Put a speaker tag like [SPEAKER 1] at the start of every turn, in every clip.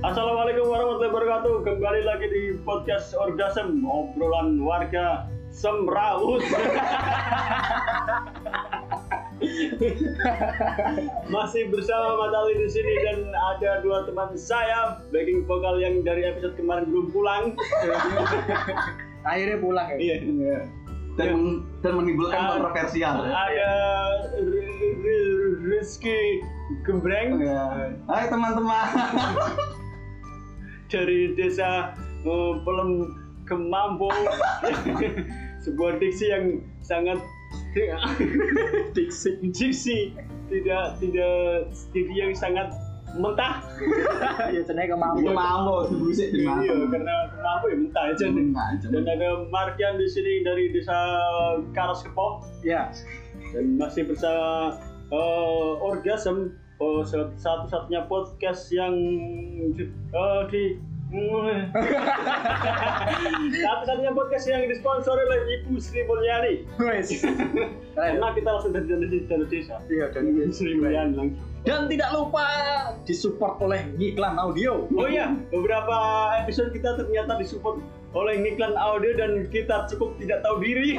[SPEAKER 1] Assalamualaikum warahmatullahi wabarakatuh. Kembali lagi di podcast Orgasm, obrolan warga Semraut. Masih bersama Matali di sini dan ada dua teman saya, backing vokal yang dari episode kemarin belum pulang.
[SPEAKER 2] Akhirnya pulang ya.
[SPEAKER 1] Iya.
[SPEAKER 3] dan men- dan menimbulkan ya.
[SPEAKER 1] Ah.
[SPEAKER 3] kontroversial.
[SPEAKER 1] Ada R- R- Rizky Gembreng
[SPEAKER 3] Ya. Hai teman-teman.
[SPEAKER 1] dari desa eh, Pelem Kemambung sebuah diksi yang sangat diksi diksi tidak tidak diksi yang sangat mentah
[SPEAKER 2] Ya cenai
[SPEAKER 3] Itu
[SPEAKER 2] kemampuan.
[SPEAKER 3] mau dibusik di mana?
[SPEAKER 1] iya karena Iya. kenapa ya mentah aja nih dan ada Markian di sini dari desa Karaskepo
[SPEAKER 2] Ya.
[SPEAKER 1] dan masih bersama eh, Orgasm oh, satu-satunya podcast yang eh, di satu-satunya podcast yang disponsori oleh Ibu Sri Mulyani
[SPEAKER 2] Wes. Keren.
[SPEAKER 1] karena kita langsung dari dari dari desa
[SPEAKER 2] Iya dan
[SPEAKER 1] Ibu Sri Mulyani langsung
[SPEAKER 2] dan tidak lupa disupport oleh iklan audio.
[SPEAKER 1] oh iya beberapa episode kita ternyata disupport oleh iklan audio dan kita cukup tidak tahu diri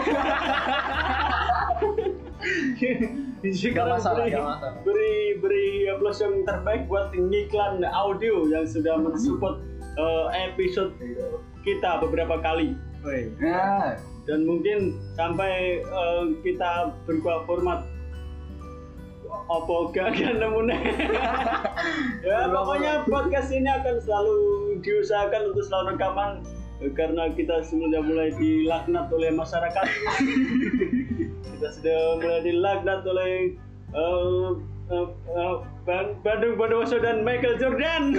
[SPEAKER 2] Gak
[SPEAKER 1] Sekarang
[SPEAKER 2] masalah,
[SPEAKER 1] beri-
[SPEAKER 2] gak masalah.
[SPEAKER 1] beri beri plus yang terbaik buat iklan audio yang sudah mensupport eh, episode kita beberapa kali
[SPEAKER 2] Woi.
[SPEAKER 3] Ya.
[SPEAKER 1] dan mungkin sampai eh, kita berubah format apa gak gak nemu nih. ya pokoknya podcast ini akan selalu diusahakan untuk selalu rekaman eh, karena kita sudah mulai dilaknat oleh masyarakat kita sudah mulai dilaknat oleh eh, eh, eh, Ban- Bandung Bondowoso dan Michael Jordan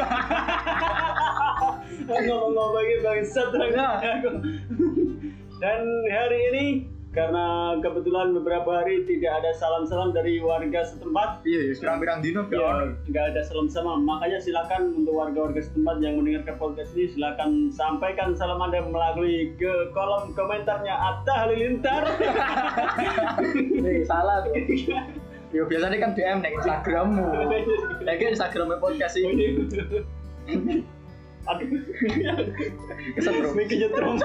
[SPEAKER 1] ngomong-ngomongin bangsat dan hari ini karena kebetulan beberapa hari tidak ada salam-salam dari warga setempat
[SPEAKER 2] Iya, ya pirang-pirang dino gak ono.
[SPEAKER 1] Ya, nggak ada salam sama. Makanya silakan untuk warga-warga setempat yang mendengarkan podcast ini silakan sampaikan salam Anda melalui ke kolom komentarnya Atta Halilintar.
[SPEAKER 2] Nih, salah tuh. Yo biasanya kan DM nek Instagrammu. Lagi Instagramnya e podcast ini
[SPEAKER 1] Aduh.
[SPEAKER 2] Kesetrum.
[SPEAKER 1] Ini kesetrum.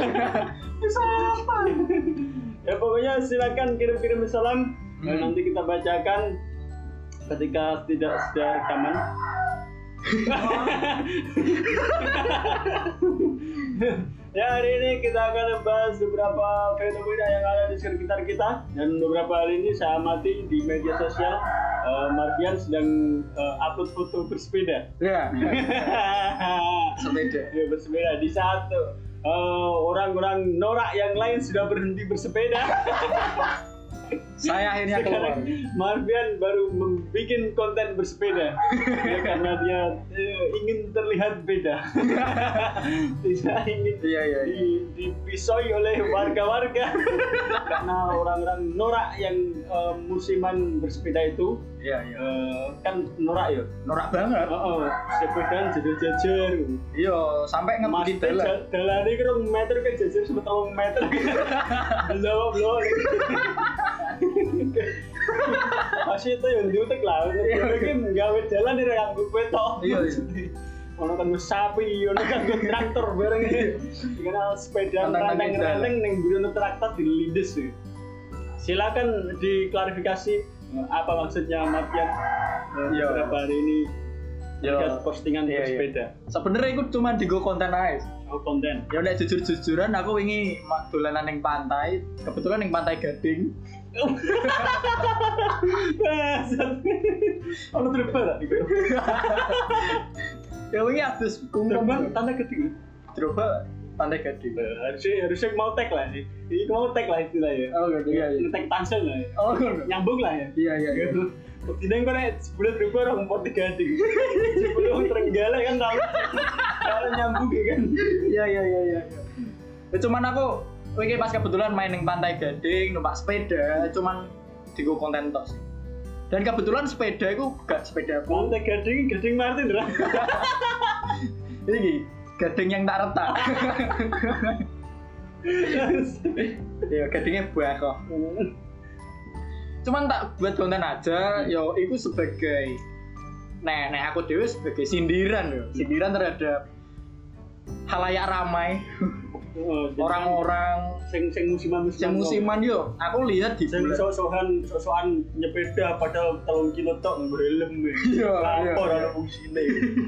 [SPEAKER 1] Bisa apa? ya pokoknya silakan kirim-kirim salam dan
[SPEAKER 2] Hmm.
[SPEAKER 1] nanti kita bacakan ketika tidak sudah rekaman. ya hari ini kita akan membahas beberapa fenomena yang ada di sekitar kita dan beberapa hari ini saya amati di media sosial eh, Mardian sedang eh, upload foto bersepeda.
[SPEAKER 2] Ya. Sepeda.
[SPEAKER 1] Ya, bersepeda di saat eh, orang-orang norak yang lain sudah berhenti bersepeda.
[SPEAKER 2] Saya akhirnya keluar.
[SPEAKER 1] Sekarang Marvian baru membuat konten bersepeda ya, karena dia eh, ingin terlihat beda. Tidak ingin
[SPEAKER 2] Iya, iya, iya.
[SPEAKER 1] di- dipisoi oleh warga-warga karena orang-orang norak yang eh, musiman bersepeda itu
[SPEAKER 2] Iya, iya.
[SPEAKER 1] eh, kan norak ya.
[SPEAKER 2] Norak banget.
[SPEAKER 1] Oh, sepedaan jejer-jejer.
[SPEAKER 2] Yo, sampai ngebut di
[SPEAKER 1] Mas
[SPEAKER 2] dalam.
[SPEAKER 1] dalan dalane kira meter ke jajar sampe telung meter. Belum, belum. Masih itu yang diutek lah. Iki nggawe dalan ora yang gue tok.
[SPEAKER 2] Iya, iya.
[SPEAKER 1] Ono kan sapi, ono kan traktor bareng. Kenal sepeda
[SPEAKER 2] Tantang-tantang
[SPEAKER 1] ranteng-ranteng ning buri traktor dilindes. ya. Silakan diklarifikasi eh, apa maksudnya Martian eh,
[SPEAKER 2] Iya.
[SPEAKER 1] beberapa hari ini
[SPEAKER 2] Iya.
[SPEAKER 1] Lihat postingan
[SPEAKER 2] Iya, iya.
[SPEAKER 1] bersepeda
[SPEAKER 2] Sebenarnya itu cuma digo konten aja.
[SPEAKER 1] Oh, konten
[SPEAKER 2] Ya nek jujur-jujuran aku wingi mak dolanan ning pantai, kebetulan ning pantai Gading.
[SPEAKER 1] Bangsat. Ono gitu. dribble tak iku?
[SPEAKER 2] Ya wingi habis
[SPEAKER 1] Dribble
[SPEAKER 2] kumpul
[SPEAKER 1] tanda gede.
[SPEAKER 2] coba pantai Gading.
[SPEAKER 1] Nah, Harusnya harusnya mau tag lah sih. Ini mau tag lah istilahnya.
[SPEAKER 2] Oh gitu. Iya iya.
[SPEAKER 1] Tag tangsel lah. ya.
[SPEAKER 2] Oh gitu.
[SPEAKER 1] Nyambung lah ya.
[SPEAKER 2] Iya iya. iya.
[SPEAKER 1] Tidak kau nih sebulan dribble orang empat tiga ding. Sebelum terenggalek kan tahu. Kalau nyambung ya kan.
[SPEAKER 2] Iya iya iya iya. Ya cuman aku wingi pas kebetulan main ning pantai Gading numpak sepeda, cuman digo konten tok sih. Dan kebetulan sepeda itu gak sepeda aku.
[SPEAKER 1] Mau tag gading, gading Martin lah.
[SPEAKER 2] Ini gading yang tak retak. Iya, gadingnya buah kok. Hmm. cuman tak buat konten aja yo itu sebagai nek nek aku dewe sebagai sindiran yo. Sindiran terhadap halayak ramai
[SPEAKER 1] Oh, jadi
[SPEAKER 2] orang-orang
[SPEAKER 1] sing sing musiman musiman
[SPEAKER 2] yang musiman yo. Aku lihat di
[SPEAKER 1] sing sok-sokan sok-sokan nyepeda padahal telung kilo tok nggo helm e.
[SPEAKER 2] Iya, iya,
[SPEAKER 1] Lapor
[SPEAKER 2] iya.
[SPEAKER 1] ana fungsine.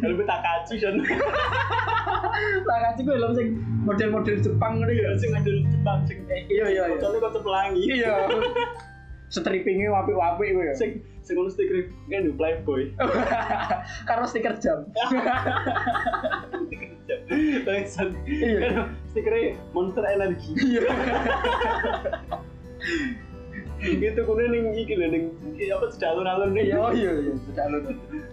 [SPEAKER 1] Helm tak kacu kan.
[SPEAKER 2] tak kasih gue lem sing model-model Jepang ngono yo.
[SPEAKER 1] Sing ada Jepang sing gitu.
[SPEAKER 2] Iya iya iya.
[SPEAKER 1] Contohnya kota pelangi.
[SPEAKER 2] Iya. Strippingnya wapi-wapi gue.
[SPEAKER 1] Sing sing ngono stiker kan yo playboy.
[SPEAKER 2] Karena stiker jam.
[SPEAKER 1] Bangsat.
[SPEAKER 2] Iya.
[SPEAKER 1] Kan Stikernya monster energi.
[SPEAKER 2] Iya.
[SPEAKER 1] Gitu kudu ning iki lho ning iki apa sedalur-alur ning.
[SPEAKER 2] Iya iya iya. Sudah lu.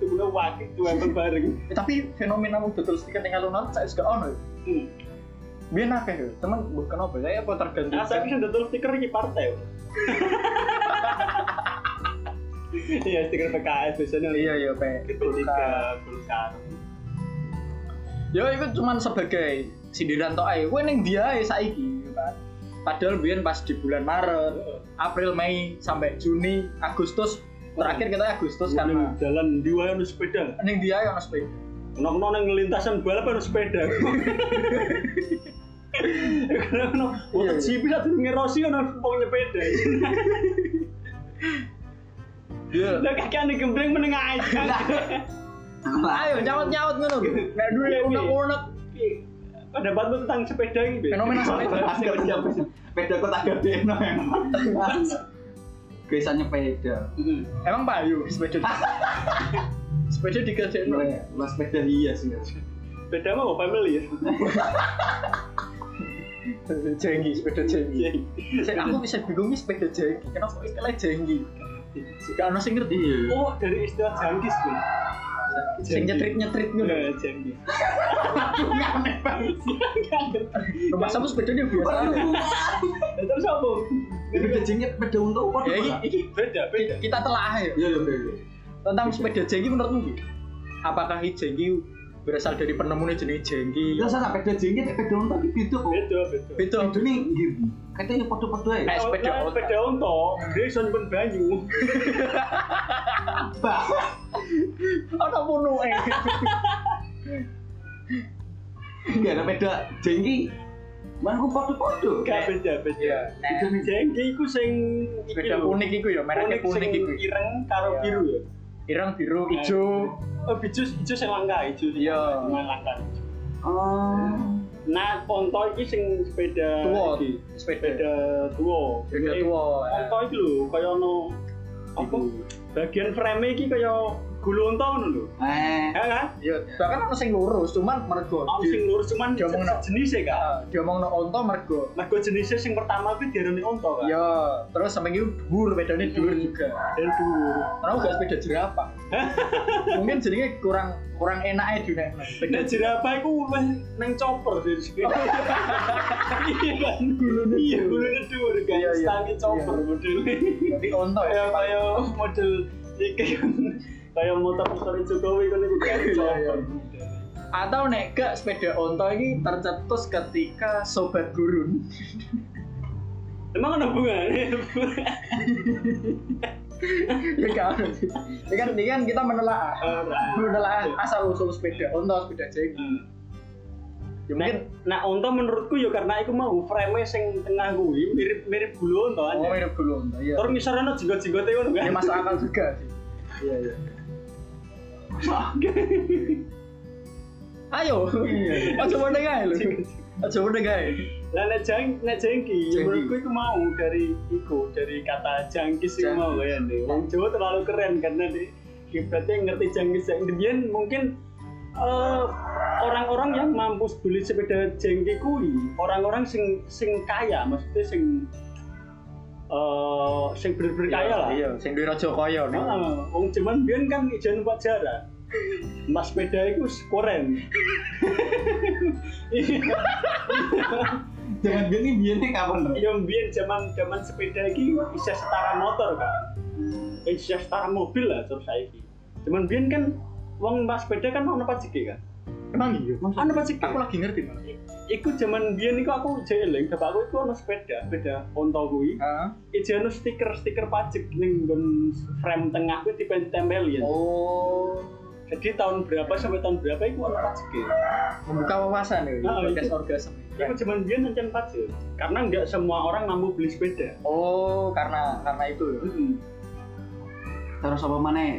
[SPEAKER 1] Kudu wakil tuan bareng.
[SPEAKER 2] Eh, Tapi fenomena mau betul stiker yang alun-alun saya juga ono. yo.
[SPEAKER 1] Hmm.
[SPEAKER 2] Biar akeh yo. Temen bu kenapa? Saya apa tergantung?
[SPEAKER 1] Nah, saya bisa dodol stiker iki partai. Iya, stiker PKS biasanya
[SPEAKER 2] Iya iya pe.
[SPEAKER 1] Gitu Ketika Golkar.
[SPEAKER 2] Yo itu cuman sebagai sindiran tok ae. Kowe ning dia ae saiki yo kan. Padahal biyen pas di bulan Maret, April, Mei sampai Juni, Agustus terakhir kita Agustus
[SPEAKER 1] Terus
[SPEAKER 2] karena
[SPEAKER 1] kan jalan di wayan sepeda.
[SPEAKER 2] ning dia ae ono sepeda.
[SPEAKER 1] Kena-kena ning lintasan balapan sepeda. Kena-kena
[SPEAKER 2] Iya,
[SPEAKER 1] motor
[SPEAKER 2] iya.
[SPEAKER 1] cipi satu ngerosi ono wong nyepeda.
[SPEAKER 2] Iya.
[SPEAKER 1] Lah kaki ane gembreng meneng aja.
[SPEAKER 2] Ayo nyaut-nyaut ngono. Nek dulu
[SPEAKER 1] Iya, iya.
[SPEAKER 2] unek-unek
[SPEAKER 1] Pendapatmu tentang sepeda ini, Be?
[SPEAKER 2] fenomena sepeda.
[SPEAKER 3] Asik kerja sepeda kok tak gadekno emang. Bisa nyepeda.
[SPEAKER 1] Heeh.
[SPEAKER 2] Emang payu sepeda. sepeda dikerjain.
[SPEAKER 3] Lah sepeda hias ya.
[SPEAKER 1] Sepeda mah mau family ya.
[SPEAKER 2] Jenggi, sepeda
[SPEAKER 1] Iya.
[SPEAKER 2] jenggi. Saya aku bisa bingung nih sepeda jenggi. Kenapa istilah jenggi? Gak ono sing ngerti.
[SPEAKER 3] Iya.
[SPEAKER 1] Oh, dari istilah jangkis, Bu.
[SPEAKER 2] Sing nyetrit-nyetrit ngono.
[SPEAKER 1] Ya, jangkis.
[SPEAKER 2] Aneh banget. Rumah sama sepedanya biasa. aja.
[SPEAKER 1] Lah, Terus apa?
[SPEAKER 3] Sepeda jengit sepeda untuk apa?
[SPEAKER 2] Ya iki iki
[SPEAKER 1] Beda, beda.
[SPEAKER 2] kita telah ya
[SPEAKER 3] Iya iya.
[SPEAKER 2] tentang sepeda jenggi menurutmu Ki? Apakah jenggi berasal dari penemunya jenis jenggi?
[SPEAKER 3] Lah sana sepeda jengit sepeda untuk iki beda kok.
[SPEAKER 1] Beda, beda.
[SPEAKER 2] Itu
[SPEAKER 3] Itu nih nggih. Katanya padha-padha ya.
[SPEAKER 2] Eh, sepeda
[SPEAKER 1] Lah,
[SPEAKER 2] ontok.
[SPEAKER 1] sepeda ontok, dia iso nyimpen banyu.
[SPEAKER 3] Bah.
[SPEAKER 2] ono punuke.
[SPEAKER 3] Enggak ada sepeda jengki. Mana aku padha-padha.
[SPEAKER 1] Gak beda, beda.
[SPEAKER 2] Nah,
[SPEAKER 1] Jengki iku sing iki
[SPEAKER 2] sepeda
[SPEAKER 1] lho.
[SPEAKER 2] unik iku ya, mereknya
[SPEAKER 1] sing
[SPEAKER 2] unik iku.
[SPEAKER 1] ireng karo
[SPEAKER 2] Iya.
[SPEAKER 1] biru ya.
[SPEAKER 2] Ireng biru ijo.
[SPEAKER 1] Oh, ijo ijo sing langka, ijo sing
[SPEAKER 2] Iya.
[SPEAKER 1] langka.
[SPEAKER 3] Oh.
[SPEAKER 1] Nah, ontok iki sing sepeda
[SPEAKER 2] Tua,
[SPEAKER 1] iki.
[SPEAKER 2] sepeda.
[SPEAKER 1] sepeda tua.
[SPEAKER 2] Sepeda
[SPEAKER 1] Jadi,
[SPEAKER 2] tua, ya.
[SPEAKER 1] Ontok iki lho, kaya ono apa? Bagian frame iki kaya gulu ontok ngono lho.
[SPEAKER 3] Eh.
[SPEAKER 1] Ya kan?
[SPEAKER 2] Iya, bahkan ono sing lurus, cuman mergo
[SPEAKER 1] Ono sing lurus cuman
[SPEAKER 2] Dia omongno.
[SPEAKER 1] jenis e kan.
[SPEAKER 2] dia mau onto mergo.
[SPEAKER 1] Mergo jenisnya sing pertama kuwi diarani ontok kan.
[SPEAKER 2] Ya, terus sampe iki dhuwur pedane
[SPEAKER 1] Hmm.
[SPEAKER 2] dhuwur juga.
[SPEAKER 1] Dan dulu.
[SPEAKER 2] Karena gak sepeda jerapah. Mungkin jadinya kurang kurang enak aja dunia. Sepeda
[SPEAKER 1] Nek jerapah iku weh nang chopper dari sepeda. Iya kan gulune. Iya gulune dhuwur kan
[SPEAKER 2] Iya, iya.
[SPEAKER 1] stange chopper
[SPEAKER 2] Iya.
[SPEAKER 1] modele.
[SPEAKER 2] Tapi oh, onto
[SPEAKER 1] Kaya
[SPEAKER 2] ya.
[SPEAKER 1] kaya model iki kan. Kaya motor-motor Jokowi kan iku kan
[SPEAKER 2] iya.
[SPEAKER 1] chopper.
[SPEAKER 2] Atau nek gak sepeda onto ini tercetus ketika sobat gurun.
[SPEAKER 1] Emang ada hubungannya?
[SPEAKER 2] ya kan. Ini kan ini kan kita menelaah.
[SPEAKER 1] Ora.
[SPEAKER 2] Menelaah asal usul sepeda onto, sepeda jeng.
[SPEAKER 1] Hmm.
[SPEAKER 2] Ya mungkin
[SPEAKER 1] Nah, onto menurutku ya karena iku mau frame sing tengah kuwi mirip-mirip gulu onto
[SPEAKER 2] oh
[SPEAKER 1] aja.
[SPEAKER 2] hidup dulu onto. Iya.
[SPEAKER 1] Terus ngisor ana jenggot-jenggote ngono kan.
[SPEAKER 2] Ya masuk akal juga sih. Iya iya. Ayo. Aja meneng ae lho. Aja meneng ae.
[SPEAKER 1] Lah nek jang nek jengki, ya
[SPEAKER 2] Jengki.
[SPEAKER 1] menurutku iku mau dari iku, dari kata jangkis iku
[SPEAKER 2] Jangkis.
[SPEAKER 1] mau ya nih. Wong Jawa terlalu keren karena di kiblatnya ngerti jangkis yang demikian mungkin eh, orang-orang yang mampu beli sepeda jengki kui, orang-orang sing sing kaya, maksudnya sing eh sing bener-bener kaya lah. iya?
[SPEAKER 2] Iya, sing duwe raja kaya nih.
[SPEAKER 1] Heeh, wong cuman biyen kan ijen numpak jarak. Mas sepeda iku keren.
[SPEAKER 3] Jangan gini biyennya kapan? Dok?
[SPEAKER 1] yang biyen zaman zaman sepeda iki bisa setara motor kan eh, bisa setara mobil lah terus saiki cuman biyen kan wong mbak sepeda kan ono pajeke kan
[SPEAKER 2] Emang iya.
[SPEAKER 1] ono pajeke
[SPEAKER 2] Aku lagi ngerti malah.
[SPEAKER 1] iku zaman biyen iku aku jeeling bapakku iku ono sepeda sepeda onto kuwi
[SPEAKER 2] Heeh.
[SPEAKER 1] ijeno stiker-stiker pajak ning nggon frame tengah kuwi ditempel ya
[SPEAKER 2] Oh.
[SPEAKER 1] jadi tahun berapa sampai tahun berapa itu ono e. pajeke
[SPEAKER 2] membuka wawasan ya
[SPEAKER 1] Ah,
[SPEAKER 2] podcast
[SPEAKER 1] itu.
[SPEAKER 2] orgasme
[SPEAKER 1] itu zaman biyen ngencen pajek karena nggak semua orang mampu beli sepeda
[SPEAKER 2] oh karena karena itu ya
[SPEAKER 1] Mm-mm.
[SPEAKER 3] Terus apa mana?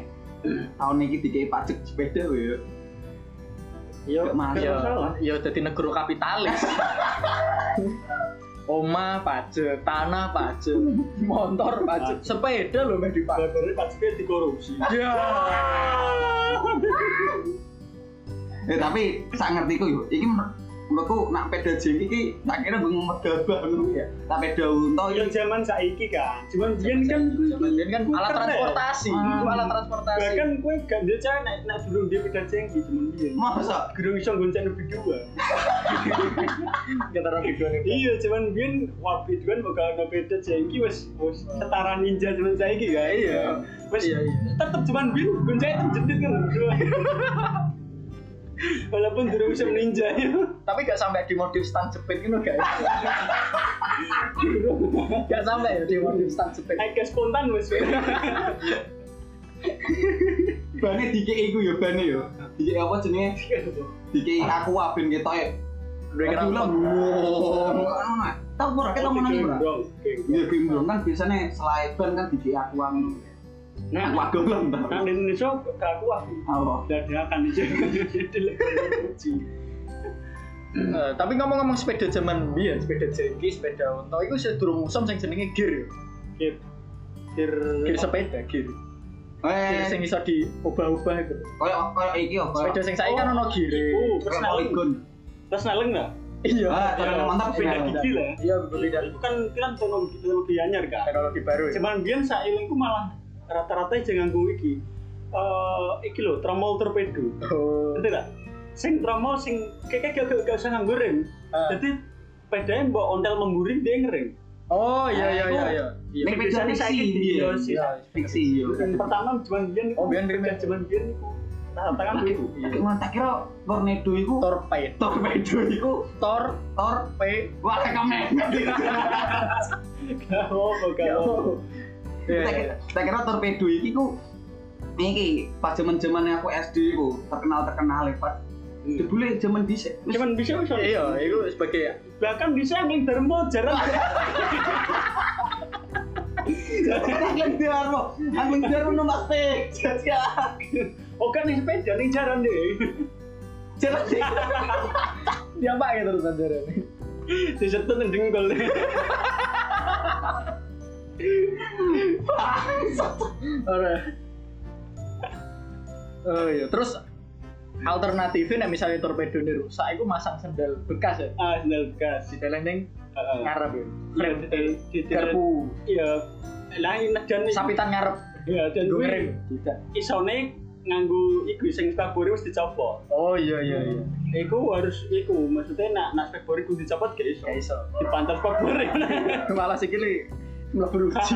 [SPEAKER 3] Tahun ini dikei pajak sepeda ya.
[SPEAKER 1] ya
[SPEAKER 3] Nggak mahal.
[SPEAKER 1] nggak masalah
[SPEAKER 2] ya jadi negara kapitalis Oma pajak, tanah pajak, motor pajak, sepeda loh meh dipajak.
[SPEAKER 1] baru pajaknya dikorupsi
[SPEAKER 2] Ya.
[SPEAKER 3] Eh tapi sak ngerti ku yo, iki men- menurutku nak peda jeng iki tak kira bingung medal banget ya. Tak peda unta
[SPEAKER 1] Oh,
[SPEAKER 3] yo
[SPEAKER 1] yang zaman saiki kan, cuman biyen kan kuwi-
[SPEAKER 2] Kemudian kan alat
[SPEAKER 1] keren.
[SPEAKER 2] transportasi,
[SPEAKER 3] Ah.
[SPEAKER 2] itu alat transportasi.
[SPEAKER 1] bahkan kue gak dia cah naik naik burung dia beda cengki cuman dia
[SPEAKER 3] masa
[SPEAKER 1] burung iso gonceng lebih dua
[SPEAKER 2] kita rambut dua nih.
[SPEAKER 1] iya cuman kan bian wapi tuan bakal no beda cengki wes wes setara ninja cuman saya gitu ya
[SPEAKER 2] Iya.
[SPEAKER 1] wes
[SPEAKER 2] Iya, iya.
[SPEAKER 1] tetep cuman bian gonceng itu jentit kan berdua walaupun burung iso ninja ya
[SPEAKER 2] Tapi gak sampai di modif stand jepit gitu guys. gak sampai ya di modif stand jepit.
[SPEAKER 1] agak spontan wes
[SPEAKER 3] bane dikei ku yo bane yo. Dikei apa jenenge? Dikei aku ben ketok e.
[SPEAKER 2] Dua kira
[SPEAKER 3] Aduh, lah, wow. Anu, nah. Tahu ora kita menang ora?
[SPEAKER 2] Iya,
[SPEAKER 3] Ya bimbel kan biasanya selain kan dikei aku anu.
[SPEAKER 1] nah
[SPEAKER 3] Aku agak belum
[SPEAKER 1] nah di Indonesia gak kuat
[SPEAKER 3] Allah.
[SPEAKER 1] dadakan aja jadi lucu
[SPEAKER 2] Eh, tapi ngomong-ngomong sepeda zaman biyen, sepeda jengki, sepeda onto itu sedurung musim sing jenenge gear. ya.
[SPEAKER 1] Kir. Kir.
[SPEAKER 2] Gear sepeda, gear. Gear
[SPEAKER 3] Eh,
[SPEAKER 2] sing iso diubah-ubah itu.
[SPEAKER 3] koyo koyo iki yo koyo.
[SPEAKER 2] Sepeda sing saiki kan ono
[SPEAKER 1] Oh,
[SPEAKER 2] gear.
[SPEAKER 1] terus
[SPEAKER 3] Terus
[SPEAKER 1] naleng. Terus naleng nggak?
[SPEAKER 2] Iya.
[SPEAKER 3] Ah, cara mantap sih.
[SPEAKER 1] Beda gigi lah.
[SPEAKER 2] Iya, berbeda
[SPEAKER 1] Itu kan itu kan teknologi teknologi anyar kan.
[SPEAKER 2] teknologi baru. ya.
[SPEAKER 1] Cuman biyen sailingku malah rata-rata jangan gue iki. Eh, iki lho, tromol torpedo.
[SPEAKER 2] Oh.
[SPEAKER 1] Betul nggak? Sing tromol sing keke gak gak- gak usah nganggo rem.
[SPEAKER 2] Ah.
[SPEAKER 1] Jadi pedanya mbok ontel memburing dia ngering.
[SPEAKER 2] Oh, iya iya
[SPEAKER 3] Ah,
[SPEAKER 2] iya
[SPEAKER 3] itu-
[SPEAKER 2] iya. Iya.
[SPEAKER 3] Mirip
[SPEAKER 1] Biasanya
[SPEAKER 3] fiksi,
[SPEAKER 1] saiki di
[SPEAKER 3] iya.
[SPEAKER 1] Yosi.
[SPEAKER 2] Iya.
[SPEAKER 3] Fiksi yo.
[SPEAKER 1] Yang pertama cuman biyen
[SPEAKER 2] Oh, biyen
[SPEAKER 1] iku,
[SPEAKER 2] biyen.
[SPEAKER 1] cuman biyen iku. Rata-rata kan
[SPEAKER 3] Lagi,
[SPEAKER 1] iku.
[SPEAKER 3] lagi mana tak kira tornado iku
[SPEAKER 2] Torpedo.
[SPEAKER 3] torpedo iku
[SPEAKER 2] Tor
[SPEAKER 3] tor
[SPEAKER 2] P
[SPEAKER 3] wah kayak kemek.
[SPEAKER 1] Gak apa-apa, gak apa-apa.
[SPEAKER 2] Iya,
[SPEAKER 3] Tak
[SPEAKER 2] iya.
[SPEAKER 3] kira- tak kira torpedo iki ku iki pas zaman-zamane aku SD ku terkenal-terkenal lepat. Dibule zaman dhisik. Wis
[SPEAKER 1] Cuman bisa bisa.
[SPEAKER 2] Iya, itu sebagai
[SPEAKER 1] bahkan bisa yang dermo jarang
[SPEAKER 3] angling diaro, angling diaro nomor spek.
[SPEAKER 1] oh kan nih sepeda nih jarang deh
[SPEAKER 3] Jalan sih.
[SPEAKER 2] dia apa gitu terus ajaran.
[SPEAKER 1] disetut yang dengkul
[SPEAKER 2] Ora. Oh iya, terus alternatifnya nek misalnya torpedo ini rusak, itu masang sendal bekas ya.
[SPEAKER 1] ah sendal bekas
[SPEAKER 2] Di telenteng
[SPEAKER 1] Heeh.
[SPEAKER 2] ngarep ya.
[SPEAKER 1] Iya,
[SPEAKER 2] Frame
[SPEAKER 1] di- di- di-
[SPEAKER 2] garpu,
[SPEAKER 1] iya nah ini dan
[SPEAKER 2] sapitan ngarep,
[SPEAKER 1] ya dan
[SPEAKER 2] gue
[SPEAKER 1] gue
[SPEAKER 2] Tidak.
[SPEAKER 1] isone nganggu iku sing spakbor wis dicopot
[SPEAKER 2] Oh iya iya iya.
[SPEAKER 1] iku harus iku maksudnya nak nak spakbor iku dicopot gak iso
[SPEAKER 2] Gak Ya iso.
[SPEAKER 1] dipantau spakbor
[SPEAKER 2] Malah sikile mlebu ruji.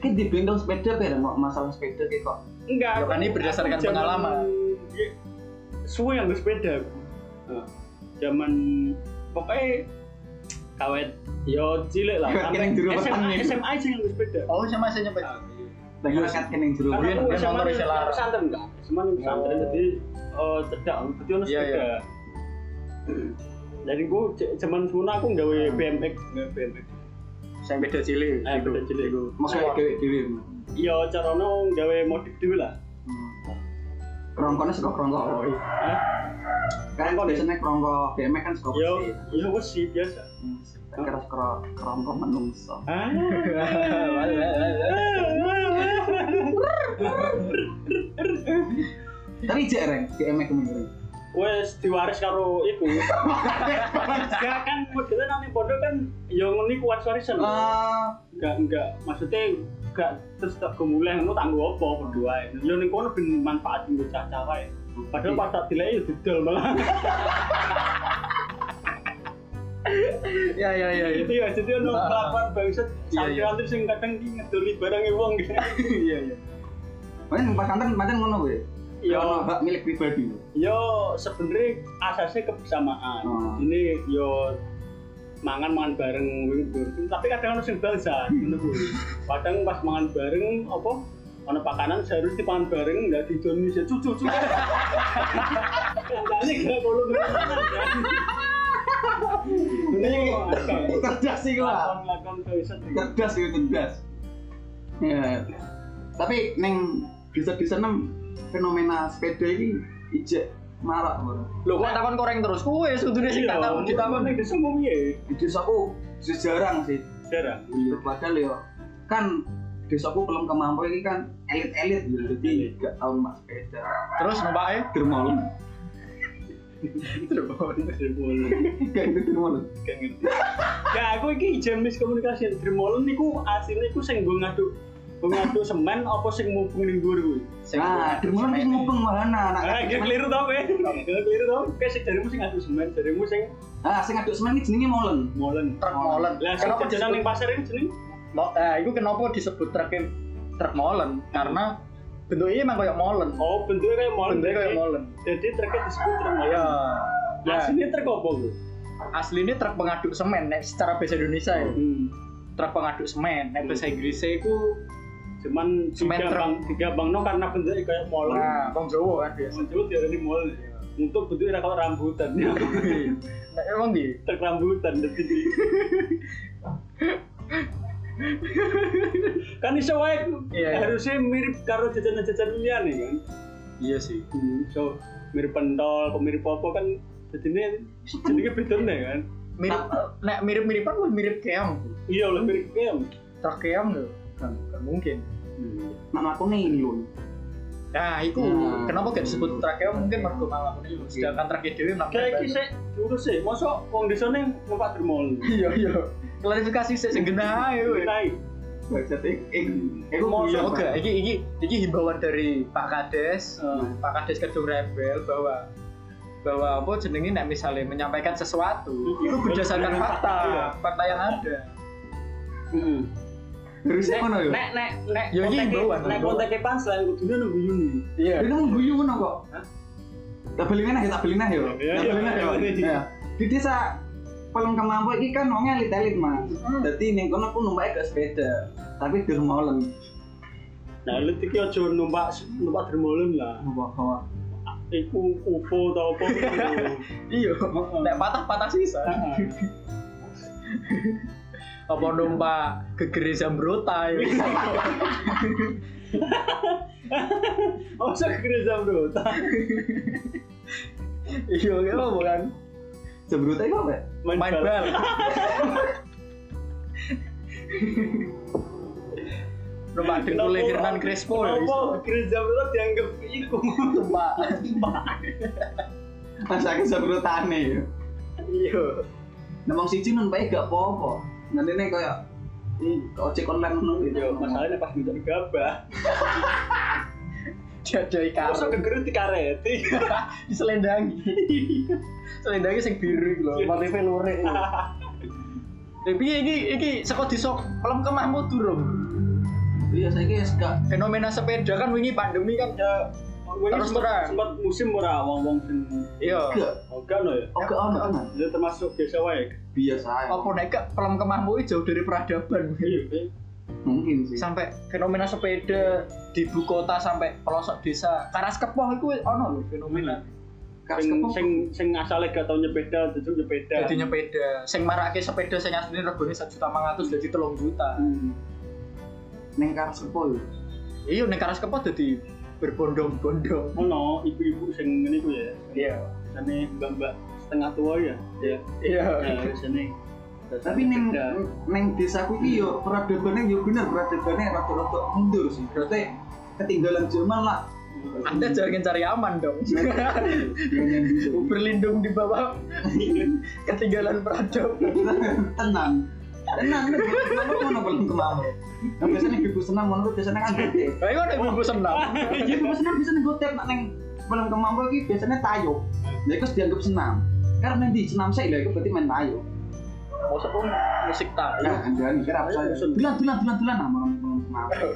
[SPEAKER 3] Ki dibendong sepeda bareng kok masalah sepeda ki kok.
[SPEAKER 1] enggak
[SPEAKER 2] Ya kan, ini berdasarkan
[SPEAKER 1] aku zaman-
[SPEAKER 2] pengalaman.
[SPEAKER 1] Iya, suwe yang bersepeda aku. Nah, zaman pokoknya kawet yo cilik lah
[SPEAKER 3] Kawet
[SPEAKER 1] sampai
[SPEAKER 3] kene jero
[SPEAKER 1] SMA
[SPEAKER 3] petani.
[SPEAKER 1] SMA aja yang bersepeda
[SPEAKER 2] Oh sama saya nyepet.
[SPEAKER 3] Tak kira kat kene jero.
[SPEAKER 1] Karena
[SPEAKER 2] biyen-
[SPEAKER 1] aku
[SPEAKER 2] biyen
[SPEAKER 1] SMA
[SPEAKER 2] motor
[SPEAKER 1] ini
[SPEAKER 2] isih larang.
[SPEAKER 1] pesantren enggak cuma di pesantren
[SPEAKER 2] Oh.
[SPEAKER 1] jadi eh, cedak jadi ono
[SPEAKER 2] Iya,
[SPEAKER 1] sepeda jadi gue zaman semua aku nggawe
[SPEAKER 2] Nah.
[SPEAKER 1] BMX nggawe BMX
[SPEAKER 2] Saya beda cilik.
[SPEAKER 1] eh beda Eh, cilik
[SPEAKER 3] Maksudnya dhewe dhewe.
[SPEAKER 1] yo carane nggawe modif dhewe lah
[SPEAKER 3] Kerongkonnya suka kerongko.
[SPEAKER 1] Hah?
[SPEAKER 2] Oh,
[SPEAKER 3] Kan kok biasanya kerongko BMX kan suka
[SPEAKER 1] yo
[SPEAKER 3] bersih.
[SPEAKER 1] yo Iya, wes sih biasa
[SPEAKER 3] Hmm, Tak kira kero- kerongko menungso.
[SPEAKER 1] Ah.
[SPEAKER 3] Tapi jek reng E BMX kemarin.
[SPEAKER 1] Wes diwaris karo iku. Enggak kan modelnya nami pondok kan ya ngene kuat warisan.
[SPEAKER 3] Eh,
[SPEAKER 1] Enggak enggak maksudde enggak terus tak gemulai ngono tak nggo apa berdua. Yo ning kono ben manfaat nggo cah-cah wae. Padahal
[SPEAKER 2] Iya.
[SPEAKER 1] pas tak dilek yo didol malah.
[SPEAKER 2] Ya ya ya ya.
[SPEAKER 1] Gitu ya jadi ono
[SPEAKER 2] Ah.
[SPEAKER 1] kelakuan bangsat
[SPEAKER 2] Iya, iya.
[SPEAKER 1] santri-santri sing kadang ki ngedoli barangnya wong.
[SPEAKER 2] Iya iya.
[SPEAKER 3] Paling pas kantor pancen ngono kowe. Ya
[SPEAKER 1] Yo
[SPEAKER 3] ono hak milik pribadi.
[SPEAKER 1] yo sebenarnya asasnya kebersamaan.
[SPEAKER 3] Hmm.
[SPEAKER 1] Ini yo mangan mangan bareng wing tapi kadang harus yang balsa ngono kuwi. kadang pas mangan bareng apa ono pakanan harus dipangan bareng nggak di Indonesia cucu cucu kayaknya gak perlu
[SPEAKER 3] Ini Iya. cerdas sih lah.
[SPEAKER 1] lakon tulisan
[SPEAKER 3] Cerdas itu cerdas. Ya. Tapi neng desa-desa nem fenomena sepeda ini ijek marak bro.
[SPEAKER 2] Loh
[SPEAKER 1] Nah.
[SPEAKER 2] kok takon koreng terus kuwe sudune sing tak takon
[SPEAKER 1] ditakon
[SPEAKER 2] ditakon.
[SPEAKER 1] ning desa mung piye
[SPEAKER 3] Di desaku jarang sih.
[SPEAKER 1] jarang
[SPEAKER 3] Iya, padahal ya kan desaku belum kemampu ini kan elit-elit ya jadi
[SPEAKER 1] Elit.
[SPEAKER 3] gak tau mas sepeda
[SPEAKER 2] Terus numpake
[SPEAKER 3] dermolon
[SPEAKER 1] Dermolen.
[SPEAKER 3] kayak gitu dermolon
[SPEAKER 1] Gak ngerti. Ya aku iki jam miskomunikasi Dermolen niku asline iku sing nggo ngaduk nggo ngaduk semen apa sing mubeng ning dhuwur kuwi.
[SPEAKER 3] nah dermolon Ah, ini ngubeng malah anak
[SPEAKER 1] Ah, iki keliru to kowe. Iki keliru to. Kayak sing jarimu sing ngaduk semen, jarimu sing
[SPEAKER 3] ah sing ngaduk semen ini jenenge molen
[SPEAKER 1] molen.
[SPEAKER 2] truk molen.
[SPEAKER 1] Lah sing
[SPEAKER 2] Kenapa
[SPEAKER 1] jajanan ning
[SPEAKER 2] disebut
[SPEAKER 1] pasar ini jeneng
[SPEAKER 2] mo- eh iku kenapa disebut truk truk molen? Karena bentuknya emang kayak molen.
[SPEAKER 1] Oh, bentuknya kayak molen.
[SPEAKER 2] Bentuknya kayak
[SPEAKER 1] jadi-
[SPEAKER 2] molen.
[SPEAKER 1] Jadi truknya disebut truk molen.
[SPEAKER 2] Iya. Nah,
[SPEAKER 1] Asline truk apa kuwi?
[SPEAKER 2] aslinya truk pengaduk semen nek secara bahasa Indonesia ya.
[SPEAKER 1] Hmm.
[SPEAKER 2] Truk pengaduk semen nek bahasa Inggrisnya iku
[SPEAKER 1] Cuman
[SPEAKER 2] Semen truk.
[SPEAKER 1] digampang digampangno karena bentuknya kayak molen.
[SPEAKER 2] nah wong Jawa kan biasa.
[SPEAKER 1] Mencoba diarani molen. Untuk bentuknya kalau rambutan.
[SPEAKER 2] Nek emang di
[SPEAKER 1] truk rambutan dan gede. kan iso wae
[SPEAKER 2] Iya, iya.
[SPEAKER 1] harusnya mirip karo jajanan-jajanan liyane kan.
[SPEAKER 2] iya sih.
[SPEAKER 1] So mirip pentol, kok mirip apa kan jadinya jenenge bedone kan.
[SPEAKER 2] Mirip nek mirip-miripan lu mirip keong.
[SPEAKER 1] Iya lah mirip keong.
[SPEAKER 2] Truk keong lho. Kan kan mungkin.
[SPEAKER 3] mak lakune ini lho
[SPEAKER 2] Nah, itu
[SPEAKER 3] Hmm.
[SPEAKER 2] kenapa gak disebut trakeo mungkin mergo malam ini lho. Sedangkan trakeo dewe malam.
[SPEAKER 1] Kayak iki sik diurus sih, mosok wong desane numpak dermol.
[SPEAKER 2] Iya, iya. Klarifikasi sik sing genah ae kowe.
[SPEAKER 1] Naik.
[SPEAKER 3] Bangsat, eh, eh, eh, aku
[SPEAKER 2] Mosok
[SPEAKER 3] guyon,
[SPEAKER 2] gak
[SPEAKER 3] Pak.
[SPEAKER 2] Oh, iki iki iki himbauan dari Pak Kades,
[SPEAKER 1] Hmm.
[SPEAKER 2] Pak Kades Kedung Rebel bahwa bahwa apa jenenge nek misalnya menyampaikan sesuatu itu berdasarkan fakta,
[SPEAKER 1] Iya.
[SPEAKER 2] fakta yang ada.
[SPEAKER 1] Heeh.
[SPEAKER 3] harusnya ngono yo
[SPEAKER 1] Nek nek nek
[SPEAKER 2] Ya, iki
[SPEAKER 1] kontaknya-
[SPEAKER 2] himbauan,
[SPEAKER 1] nek
[SPEAKER 2] himbauan.
[SPEAKER 1] kontaknya pansel kudune nunggu Yuni.
[SPEAKER 2] Iya.
[SPEAKER 3] ini mau guyu ngono kok
[SPEAKER 1] Hah?
[SPEAKER 3] tak beli meneh tak beli meneh yo
[SPEAKER 1] Iya,
[SPEAKER 3] tak
[SPEAKER 1] iya,
[SPEAKER 3] beli meneh yo
[SPEAKER 1] iya.
[SPEAKER 3] Iya. di desa pelem kemampu iki kan wong elit-elit mas
[SPEAKER 2] Hmm.
[SPEAKER 3] dadi ning kono aku numpake gak sepeda tapi dermolen
[SPEAKER 1] Nah, lu iki aja numpak numpak dermolen lah.
[SPEAKER 3] bawa
[SPEAKER 1] Iku UFO atau apa gitu.
[SPEAKER 2] Iya. Nek patah-patah sisa. Apa numpak ke gereja Brota ya?
[SPEAKER 1] Oh, saya gereja bro.
[SPEAKER 2] Iya, iya bukan.
[SPEAKER 3] Jembrut itu apa? ya?
[SPEAKER 2] Main bal. Numpak dengkulnya Hernan Crespo ya.
[SPEAKER 1] Apa gereja bro dianggap iku?
[SPEAKER 2] Numpak.
[SPEAKER 3] Masa aku jembrutane ya.
[SPEAKER 2] Iya.
[SPEAKER 3] Nemong siji nun pae gak apa-apa. Nanti nih kayak ih, ojek hmm, online ngono gitu.
[SPEAKER 1] Yo, masalahnya pas minta digabah.
[SPEAKER 2] Jajai
[SPEAKER 1] Masa
[SPEAKER 2] karung.
[SPEAKER 1] kegeru dikareti.
[SPEAKER 2] Diselendangi. Selendangi sing biru iki lho, motifnya lurik. lho. Tapi iki iki saka desa pelem kemahmu durung.
[SPEAKER 3] Iya, saya kira gak
[SPEAKER 2] Fenomena sepeda kan wingi pandemi kan ya Terus terang.
[SPEAKER 1] sempat musim ora wong-wong sing
[SPEAKER 2] iya.
[SPEAKER 3] gak
[SPEAKER 1] Oga no ya.
[SPEAKER 3] oh gak ono kan?
[SPEAKER 1] Ya termasuk biasa wae.
[SPEAKER 3] Biasa aja.
[SPEAKER 2] Apa nek ke- pelem kemahmu iki jauh dari peradaban.
[SPEAKER 1] Iya.
[SPEAKER 3] Mungkin sih.
[SPEAKER 2] sampai fenomena sepeda di ibu kota sampai pelosok desa karas kepoh itu ono lho fenomena
[SPEAKER 3] Kas
[SPEAKER 1] Sing
[SPEAKER 3] kepung.
[SPEAKER 1] sing sing asale gak tau nyepeda, duduk nyepeda.
[SPEAKER 2] jadi nyepeda sing marake sepeda sing asline regane 1 juta 500 jadi 3 juta
[SPEAKER 3] Hmm. Neng kas kepung.
[SPEAKER 2] iya ning karas kepoh jadi berbondong-bondong
[SPEAKER 1] Ono ibu-ibu sing ngene ku ya.
[SPEAKER 2] iya
[SPEAKER 1] Sane mbak-mbak setengah tua ya. Ya.
[SPEAKER 2] iya
[SPEAKER 1] Nah, sane.
[SPEAKER 3] Tapi neng neng desaku ki yo peradabannya yo bener peradabannya rada-rada mundur sih. Berarti ketinggalan zaman lah.
[SPEAKER 2] anda
[SPEAKER 1] Hmm.
[SPEAKER 2] jangan cari aman dong
[SPEAKER 3] Jangan gitu.
[SPEAKER 2] berlindung di bawah ketinggalan peradaban
[SPEAKER 3] tenang tenang kamu mana belum kemana nah, biasanya ibu senang menurut biasanya kan gede
[SPEAKER 2] Nah, itu ada ibu senang
[SPEAKER 3] ibu senang biasanya gotep nak neng belum kemana lagi biasanya tayo jadi terus dianggap senam karena nanti senam saya lah itu berarti main tayo
[SPEAKER 2] maksudku musik
[SPEAKER 3] nah
[SPEAKER 2] tak
[SPEAKER 3] anda nih kira apa saya tulan tulan tulan tulan nah belum belum kemana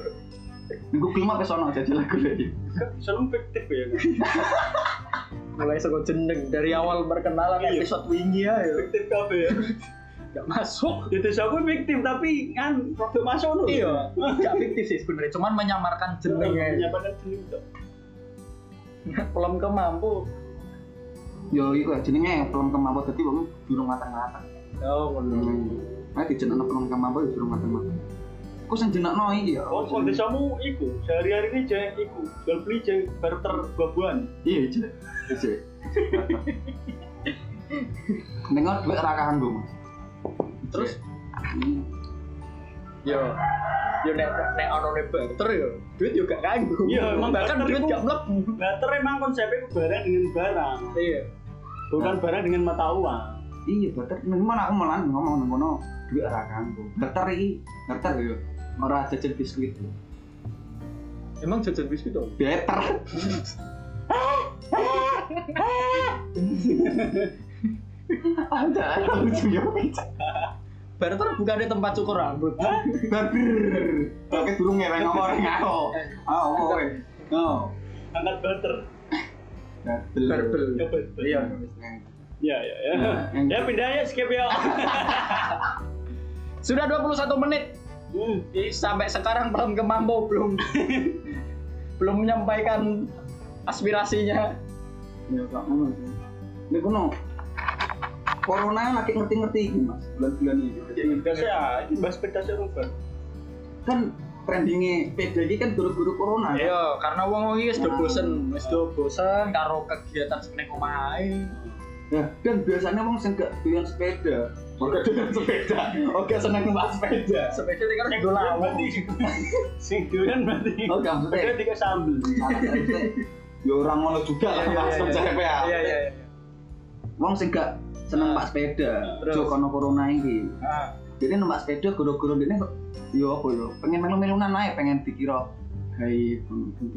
[SPEAKER 3] nunggu kelima pesono jadi lagu lagi
[SPEAKER 1] Seneng fiktif ya. kan?
[SPEAKER 2] mulai sego jeneng dari awal perkenalan
[SPEAKER 1] Iya.
[SPEAKER 2] episode wingi ya
[SPEAKER 1] Fiktif kabeh ya.
[SPEAKER 2] gak masuk
[SPEAKER 1] di desa aku fiktif tapi kan produk masuk lho.
[SPEAKER 2] iya gak fiktif sih sebenarnya cuman menyamarkan jeneng aja.
[SPEAKER 1] Punya pada jeneng tuh. Iya.
[SPEAKER 2] pelem ke mampu
[SPEAKER 3] yo iku lah jenenge pelem kemampuan dadi wong durung mateng-mateng Nah,
[SPEAKER 2] oh ngono
[SPEAKER 3] ae dijenekno pelem kemampuan durung mateng-mateng aku sing jenekno iki ya
[SPEAKER 1] Oh, kalau desamu iku sehari-hari ini jeng iku jual beli jeng barter buah-buahan.
[SPEAKER 3] iya iya iya dengar duit rakahan gue mas terus
[SPEAKER 2] yo yo nek nek ono ne barter yo duit yo gak kanggo
[SPEAKER 1] Iya, emang
[SPEAKER 2] bahkan
[SPEAKER 1] barter
[SPEAKER 2] duit
[SPEAKER 1] itu-
[SPEAKER 2] gak mlebu
[SPEAKER 1] Barter emang konsepnya itu barang dengan barang,
[SPEAKER 2] iya
[SPEAKER 1] bukan barang dengan mata uang.
[SPEAKER 3] iya bener gimana aku malah ngomong nang kono duit rakahan gue beter iki beter yo ora jajan biskuit
[SPEAKER 2] emang jajan biskuit dong
[SPEAKER 3] beter ada Ah, aku juga
[SPEAKER 2] barter bukan di tempat cukur rambut
[SPEAKER 3] bener pakai burung ngereng orang aku ah apa kowe no
[SPEAKER 1] Angkat barter.
[SPEAKER 3] berbel
[SPEAKER 2] barbel
[SPEAKER 1] Coba.
[SPEAKER 2] iya
[SPEAKER 1] Ya, ya, ya.
[SPEAKER 3] Nah,
[SPEAKER 1] Ya pindah ya skip ya.
[SPEAKER 2] sudah 21 menit
[SPEAKER 1] Hmm.
[SPEAKER 2] Jadi sampai sekarang belum ke Mambo belum belum menyampaikan aspirasinya
[SPEAKER 3] ya gak ngono sih ini kono corona lagi ngerti-ngerti ini mas bulan-bulan ini
[SPEAKER 2] iya,
[SPEAKER 1] Biasa ya, ini bahas sepeda sih Ruben.
[SPEAKER 3] kan trendingnya sepeda ini kan guru-guru corona kan?
[SPEAKER 2] iya karena wong wong wis do bosen wis do bosen karo kegiatan sing ning omah ae
[SPEAKER 3] Nah, dan biasanya wong sing gak doyan sepeda oke doyan sepeda oke seneng numpak sepeda
[SPEAKER 2] sepeda iki kan
[SPEAKER 1] Sing doyan
[SPEAKER 2] do lawang
[SPEAKER 1] berarti. Sing doyan berarti.
[SPEAKER 3] oh gak
[SPEAKER 1] Udah
[SPEAKER 3] maksudnya
[SPEAKER 1] tiga sambel.
[SPEAKER 3] ya orang ngono juga lah mas percaya ya
[SPEAKER 2] iya iya Nah,
[SPEAKER 3] wong sing gak seneng numpak sepeda
[SPEAKER 2] Terus?
[SPEAKER 3] jo kono corona ini
[SPEAKER 2] Ah,
[SPEAKER 3] jadi numpak sepeda guru-guru ini yo apa yo pengen melu-melunan aja pengen dikira hai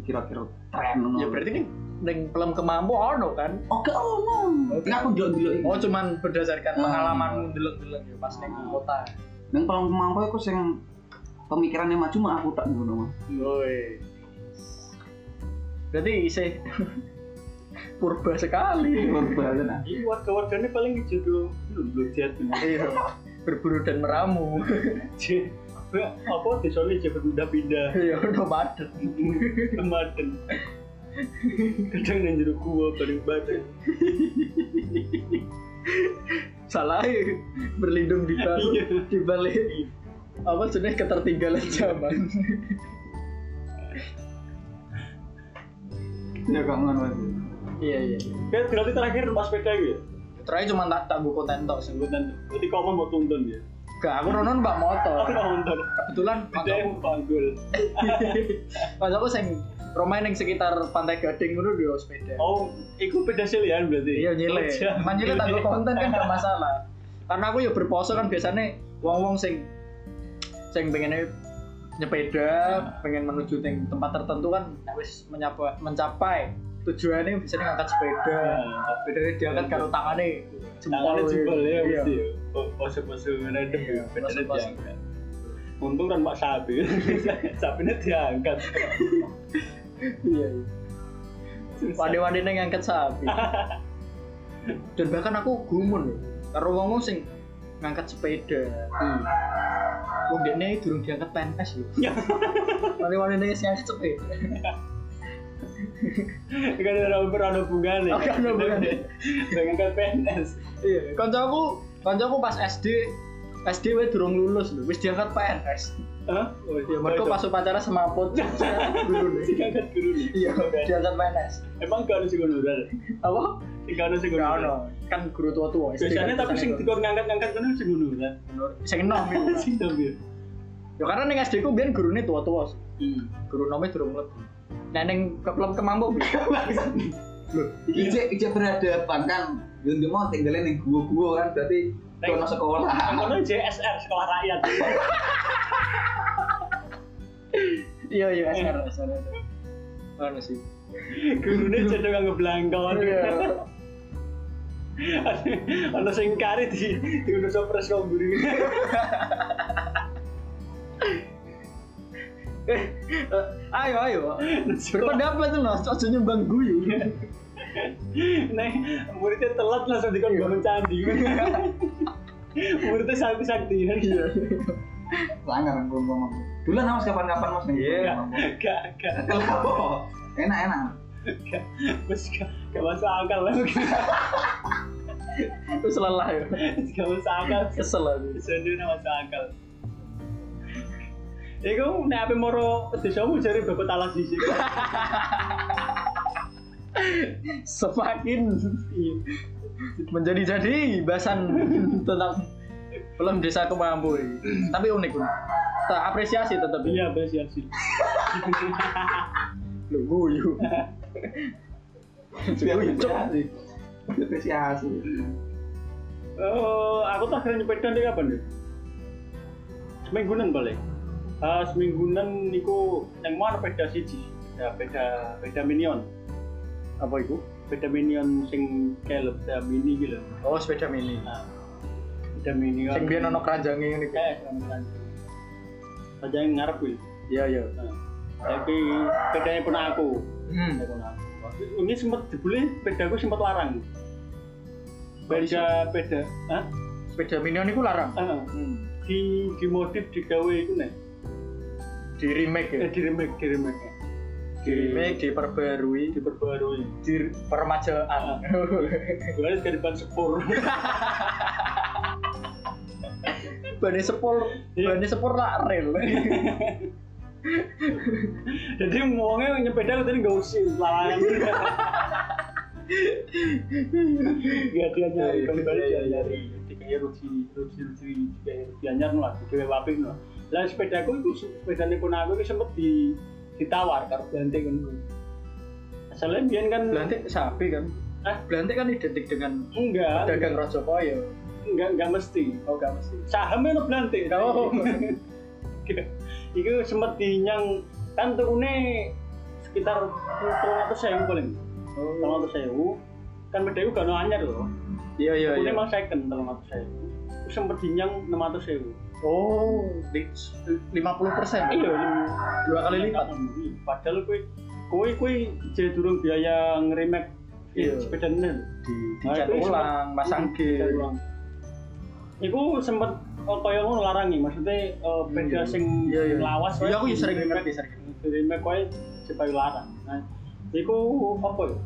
[SPEAKER 3] dikira-kira tren ngono.
[SPEAKER 2] ya berarti kan ning film ke Mambo ono kan
[SPEAKER 3] Oke, oh no.
[SPEAKER 2] Oke.
[SPEAKER 3] Ini aku ndelok ndelok ini.
[SPEAKER 2] oh cuman berdasarkan
[SPEAKER 3] Ah.
[SPEAKER 2] pengalamanmu ndeleng-ndeleng ya pas ning kota
[SPEAKER 3] Dan kalau kemampu aku sing pemikirannya maju mah aku tak ngono mas.
[SPEAKER 2] Woi. Berarti isih purba sekali.
[SPEAKER 3] Berbalik nah.
[SPEAKER 1] Ini warga-warganya paling jodoh belum belum jahat.
[SPEAKER 2] Iya. Berburu dan meramu.
[SPEAKER 1] Cih, apa desanya aja berpindah-pindah
[SPEAKER 2] Ya udah padet.
[SPEAKER 1] kemarin kadang nang jero gua paling badan
[SPEAKER 2] Salah berlindung di
[SPEAKER 1] Iya.
[SPEAKER 2] balik di balik apa jenis ketertinggalan zaman.
[SPEAKER 3] Ya gak ngono mas.
[SPEAKER 2] iya iya.
[SPEAKER 1] kan berarti terakhir pas sepeda gitu ya
[SPEAKER 2] Terakhir cuma tak tak buku konten tok sih.
[SPEAKER 1] sebutan berarti kau mau tuntun ya
[SPEAKER 2] Gak aku ronon mbak motor.
[SPEAKER 1] aku mau tuntun
[SPEAKER 2] Kebetulan
[SPEAKER 1] ada yang panggul
[SPEAKER 2] pas aku sing Romain yang sekitar Pantai Gading dulu di sepeda.
[SPEAKER 1] oh iku pedasilian berarti
[SPEAKER 2] Iya nyilek. Cuman nyilek tak nggo konten kan gak masalah. Karena aku ya berpose kan biasanya wong-wong sing sing pengennya nyepeda, pengen menuju ting tempat tertentu kan nek wis menyapa, mencapai tujuannya biasanya ngangkat sepeda.
[SPEAKER 1] Nah,
[SPEAKER 2] Sepedanya diangkat kan karo tangane
[SPEAKER 1] tangannya
[SPEAKER 2] weh.
[SPEAKER 1] jempol ya
[SPEAKER 2] Iya.
[SPEAKER 1] mesti ya. Po- pose-pose random
[SPEAKER 2] Iya,
[SPEAKER 1] ya pedasnya
[SPEAKER 2] pose-pose.
[SPEAKER 1] diangkat. untung kan pak sapi sapinya diangkat
[SPEAKER 2] Iya. iya. Wade-wade neng ngangkat sapi. Dan bahkan aku gumun loh. Karo wong-wong sing ngangkat sepeda.
[SPEAKER 1] Hmm.
[SPEAKER 2] Wong dekne durung diangkat PNS lho.
[SPEAKER 1] Ya.
[SPEAKER 2] Wani-wani ning sing angkat sepeda.
[SPEAKER 1] kan ada ada hubungannya
[SPEAKER 2] Oh, gak ada hubungannya.
[SPEAKER 1] dengan kan PNS
[SPEAKER 2] Iya, kancaku, kancaku pas SD SD wis durung lulus lho, wis diangkat PNS.
[SPEAKER 1] Hah? Oh,
[SPEAKER 2] Ya mergo pas upacara semaput gurune.
[SPEAKER 1] Diangkat guru nih.
[SPEAKER 2] Iya,
[SPEAKER 1] Oke.
[SPEAKER 2] diangkat PNS.
[SPEAKER 1] Emang gak ada sih honorer?
[SPEAKER 2] Apa?
[SPEAKER 1] Gak ada sih
[SPEAKER 2] Gak
[SPEAKER 1] honorer.
[SPEAKER 2] ono. Kan guru tua-tua SD.
[SPEAKER 1] Biasanya tapi sing
[SPEAKER 2] tiga
[SPEAKER 1] dikon ngangkat-ngangkat kan sing honorer.
[SPEAKER 2] sing enom iku. Mas.
[SPEAKER 1] Sing dong ya.
[SPEAKER 2] Ya karena ning SD ku biyen gurune tua-tua. sih. Guru nome durung mlebu. Nek ning keplem kemampu lho.
[SPEAKER 3] Ijek ijek berhadapan kan. Yo ndek mau tinggalin ning gua-gua kan berarti kono sekolah.
[SPEAKER 1] Kono JSR sekolah rakyat.
[SPEAKER 2] Iya iya SR SR. Ono sih.
[SPEAKER 1] Gurune jadi nganggo blangkon.
[SPEAKER 2] Iya.
[SPEAKER 1] Ono sing kari di diundang sopres kok guru.
[SPEAKER 2] Eh, eh, ayo ayo berpendapat tuh loh cocok nyumbang guyu
[SPEAKER 1] Nek muridnya telat langsung dikon bangun candi. muridnya sakti sakti kan
[SPEAKER 2] Iya.
[SPEAKER 3] Langar belum ngomong. Dulu nah, mas kapan-kapan mas nih.
[SPEAKER 2] Iya.
[SPEAKER 1] gak gak
[SPEAKER 3] Kenapa? Enak enak.
[SPEAKER 1] gak Mas, gak gak masuk akal lah
[SPEAKER 2] Terus lelah ya.
[SPEAKER 1] gak masuk akal
[SPEAKER 2] Kesel aku.
[SPEAKER 1] Jadi nggak masuk akal. Iku nek ape moro desamu jare bebet alas sisi.
[SPEAKER 2] Semakin menjadi-jadi bahasan tentang film desa kemampu ini. Tapi unik. Tak apresiasi tetap ini.
[SPEAKER 1] Iya bes ya sih.
[SPEAKER 2] Lu guyu. Guyu, cok.
[SPEAKER 3] Apresiasi.
[SPEAKER 1] Oh, aku terakhir nyepedan deh kapan deh? Semingguan paling. Ah, semingguan niku yang mana beda siji? Ya beda beda minion.
[SPEAKER 2] Apa itu?
[SPEAKER 1] Beda minion sing kelep ya mini gitu.
[SPEAKER 2] Oh, sepeda mini.
[SPEAKER 1] Nah, beda minion.
[SPEAKER 2] Sing biyen ono keranjange ngene iki.
[SPEAKER 1] Eh, keranjang. Keranjang ngarep kuwi.
[SPEAKER 2] Iya, iya.
[SPEAKER 1] Nah, tapi bedanya pun aku.
[SPEAKER 2] Hmm.
[SPEAKER 1] Ini sempat dibeli, pedaku sempat larang. Beda beda, ah,
[SPEAKER 2] Sepeda minion iku larang.
[SPEAKER 1] ah,
[SPEAKER 2] Hmm.
[SPEAKER 1] di di modif digawe itu nih,
[SPEAKER 2] Di remake ya.
[SPEAKER 1] eh, di remake di remake,
[SPEAKER 2] Di remake, diperbarui,
[SPEAKER 1] diperbarui.
[SPEAKER 2] dipermajaan.
[SPEAKER 1] Gue harus depan sepur.
[SPEAKER 2] Bane sepul,
[SPEAKER 1] Iya.
[SPEAKER 2] bane sepul lah rel.
[SPEAKER 1] Jadi ngomongnya nyepeda tadi nggak usir iya. larangan. Gak Iya,
[SPEAKER 2] Iya,
[SPEAKER 1] dia nyari balik-balik dia nyari. Tiga ya rugi rugi rugi tiga ya rugi anyar lah. Dewe wapik lah. Lah sepedaku itu sepeda pun aku itu sempet di ditawar karo Blante ngono. Asalnya biyen kan
[SPEAKER 2] Belantik sapi kan.
[SPEAKER 1] Hah?
[SPEAKER 2] Belantik kan identik dengan
[SPEAKER 1] enggak
[SPEAKER 2] pedagang Rajakoya.
[SPEAKER 1] enggak enggak mesti.
[SPEAKER 2] Oh, gak mesti.
[SPEAKER 1] Sahamnya no Blante.
[SPEAKER 2] Oh. Iya.
[SPEAKER 1] Iku sempet dinyang kan turune sekitar 300.000 paling. telung atus sewu kan bedanya gak ada anyar loh
[SPEAKER 2] Oh. Iya, iya,
[SPEAKER 1] ini
[SPEAKER 2] iya.
[SPEAKER 1] emang second telung atus sewu aku sempet dinyang enam atus sewu
[SPEAKER 2] Oh, di 50%.
[SPEAKER 1] iya
[SPEAKER 2] Dua kali lipat.
[SPEAKER 1] padahal kue kue kue jadi durung biaya ngerimek iya.
[SPEAKER 2] Iya.
[SPEAKER 1] sepeda ini
[SPEAKER 2] Di dicat ulang, pasang
[SPEAKER 1] Dicat
[SPEAKER 2] gear.
[SPEAKER 1] ulang. Iku sempet oh, kaya ngono larangi, maksudnya eh, beda
[SPEAKER 2] Iya.
[SPEAKER 1] sing
[SPEAKER 2] Iya, iya.
[SPEAKER 1] lawas
[SPEAKER 2] Iya, aku ya sering ngerti, sering
[SPEAKER 1] Dari kowe supaya larang. Nah, iku apa ya?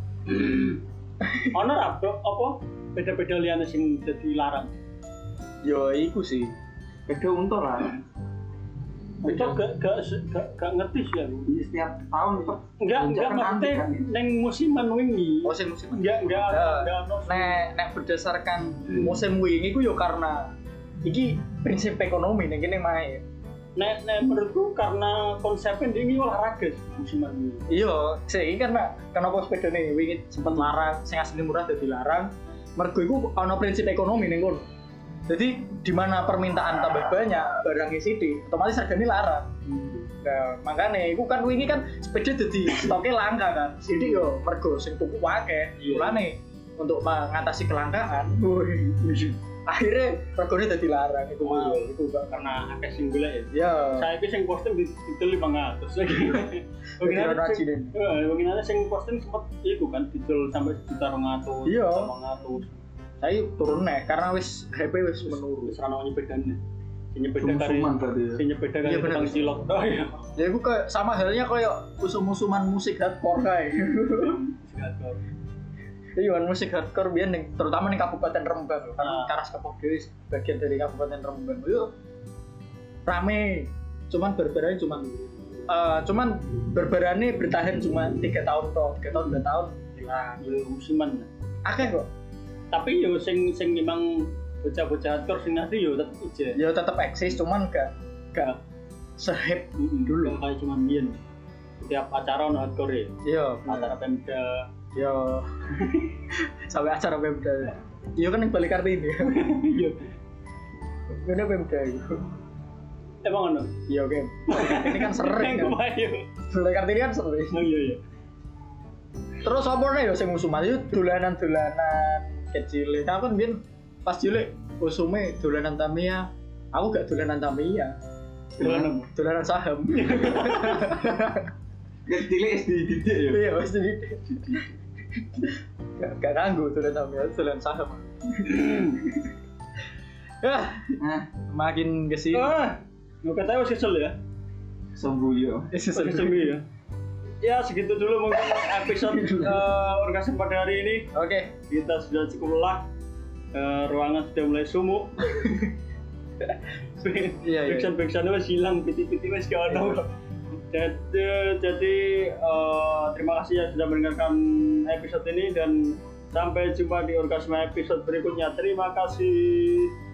[SPEAKER 1] Ono ra bro, apa beda-beda liyane sing dadi larang.
[SPEAKER 2] Yo iku sih.
[SPEAKER 3] Beda untor lah.
[SPEAKER 1] Itu gak gak se- gak gak ngerti sih aku.
[SPEAKER 3] Ini Iya, setiap tahun per.
[SPEAKER 1] Enggak, enggak
[SPEAKER 3] lonjakan
[SPEAKER 1] maksudnya
[SPEAKER 3] anti kan.
[SPEAKER 1] neng musiman wingi.
[SPEAKER 2] Oh, sing musim.
[SPEAKER 1] Enggak, enggak
[SPEAKER 2] Eh,
[SPEAKER 1] enggak ono.
[SPEAKER 2] nek nek berdasarkan musim wingi ku yo karena iki prinsip ekonomi ning kene mae.
[SPEAKER 1] Nek nek menurutku karena konsepnya dia ini olahraga sih, musiman wingi.
[SPEAKER 2] Iya, sih iki karena kenapa sepeda nih wingi sempet larang, sing asli murah dadi larang. Mergo iku ana prinsip ekonomi ning kono. Jadi di mana permintaan tambah banyak, barangnya sithik, otomatis harganya larang.
[SPEAKER 1] Hmm.
[SPEAKER 2] Nah, makanya iku kan wingi kan sepeda dadi stoke langka kan. Sithik yo mergo sing tuku akeh.
[SPEAKER 1] Iya.
[SPEAKER 2] Mulane untuk mengatasi kelangkaan, akhirnya regane dadi larang iku mau
[SPEAKER 1] Iya.
[SPEAKER 2] iku Pak.
[SPEAKER 1] Karena akeh sing golek ya.
[SPEAKER 2] Ya.
[SPEAKER 1] saya itu yang posting di itu lima ratus lagi
[SPEAKER 2] Jadi
[SPEAKER 1] mungkin ada
[SPEAKER 2] orang
[SPEAKER 1] sing-
[SPEAKER 2] rajin.
[SPEAKER 1] Eh, mungkin ada yang posting sempat itu kan dijual sampai sekitar ngatus
[SPEAKER 2] Iya.
[SPEAKER 1] ngatus
[SPEAKER 2] Saya turun nek karena wis HP wis menurun.
[SPEAKER 1] terus rano nyebedannya si nyepeda kali
[SPEAKER 3] Sum-suman tadi ya.
[SPEAKER 1] si nyepeda kali
[SPEAKER 2] Iya, bener.
[SPEAKER 1] tukang cilok oh iya
[SPEAKER 2] Ya iku kayak sama halnya kayak usum-usuman musik hardcore kae. Iya, kan, musik hardcore biyen ning- terutama ning Kabupaten Rembang karena
[SPEAKER 1] Ah.
[SPEAKER 2] Karas Kepokyo wis bagian dari Kabupaten Rembang. Yo rame. Cuman berbarani cuman eh, cuman berbarani bertahan cuma tiga tahun toh, tiga tahun dua tahun hilang.
[SPEAKER 1] Ya, musiman
[SPEAKER 2] Akeh kok.
[SPEAKER 1] tapi yo sing sing memang bocah-bocah hardcore sing nanti yo tetep aja
[SPEAKER 2] Ya tetap eksis cuman gak gak sehip Dulu.
[SPEAKER 1] kayak cuman bian setiap acara ono hardcore ya
[SPEAKER 2] Iya, bener.
[SPEAKER 1] acara pemda
[SPEAKER 2] Iya. Sampai acara Pemda. Iya kan yang balik Kartini.
[SPEAKER 1] iya
[SPEAKER 2] Ini Pemda itu.
[SPEAKER 1] emang ono
[SPEAKER 2] Iya, oke. Ini kan
[SPEAKER 1] Yang
[SPEAKER 2] sering kan.
[SPEAKER 1] kebayang.
[SPEAKER 2] Balik Kartini kan sering.
[SPEAKER 1] oh iya iya
[SPEAKER 2] Terus apa nih ya sing musuhan itu dolanan-dolanan kecil. Nah, aku kan biyen pas cilik usume dolanan Tamiya. Aku gak dolanan Tamiya,
[SPEAKER 1] Dolanan.
[SPEAKER 2] dolanan saham. Iya,
[SPEAKER 3] Kecil SD didik ya.
[SPEAKER 2] Iya, pasti Gak, gak ganggu dolanan Tamiya, dolanan saham. Yah,
[SPEAKER 1] Eh.
[SPEAKER 3] Nah,
[SPEAKER 2] makin kesini.
[SPEAKER 3] Oh,
[SPEAKER 1] Ah, nggak katanya masih kesel ya?
[SPEAKER 3] sembuyo.
[SPEAKER 2] Isi
[SPEAKER 1] Masih
[SPEAKER 2] seru.
[SPEAKER 1] kesel ya? Ya segitu dulu mungkin episode eh, orgasme pada hari ini
[SPEAKER 2] Oke.
[SPEAKER 1] kita sudah cukup lelah. Eh, ruangan sudah mulai sumuk.
[SPEAKER 2] Iya, iya.
[SPEAKER 1] Backsound backsound wes hilang, piti-piti wes gak
[SPEAKER 2] Iya.
[SPEAKER 1] ada. Jadi, jadi eh, terima kasih yang sudah mendengarkan episode ini dan sampai jumpa di orgasme episode berikutnya. Terima kasih.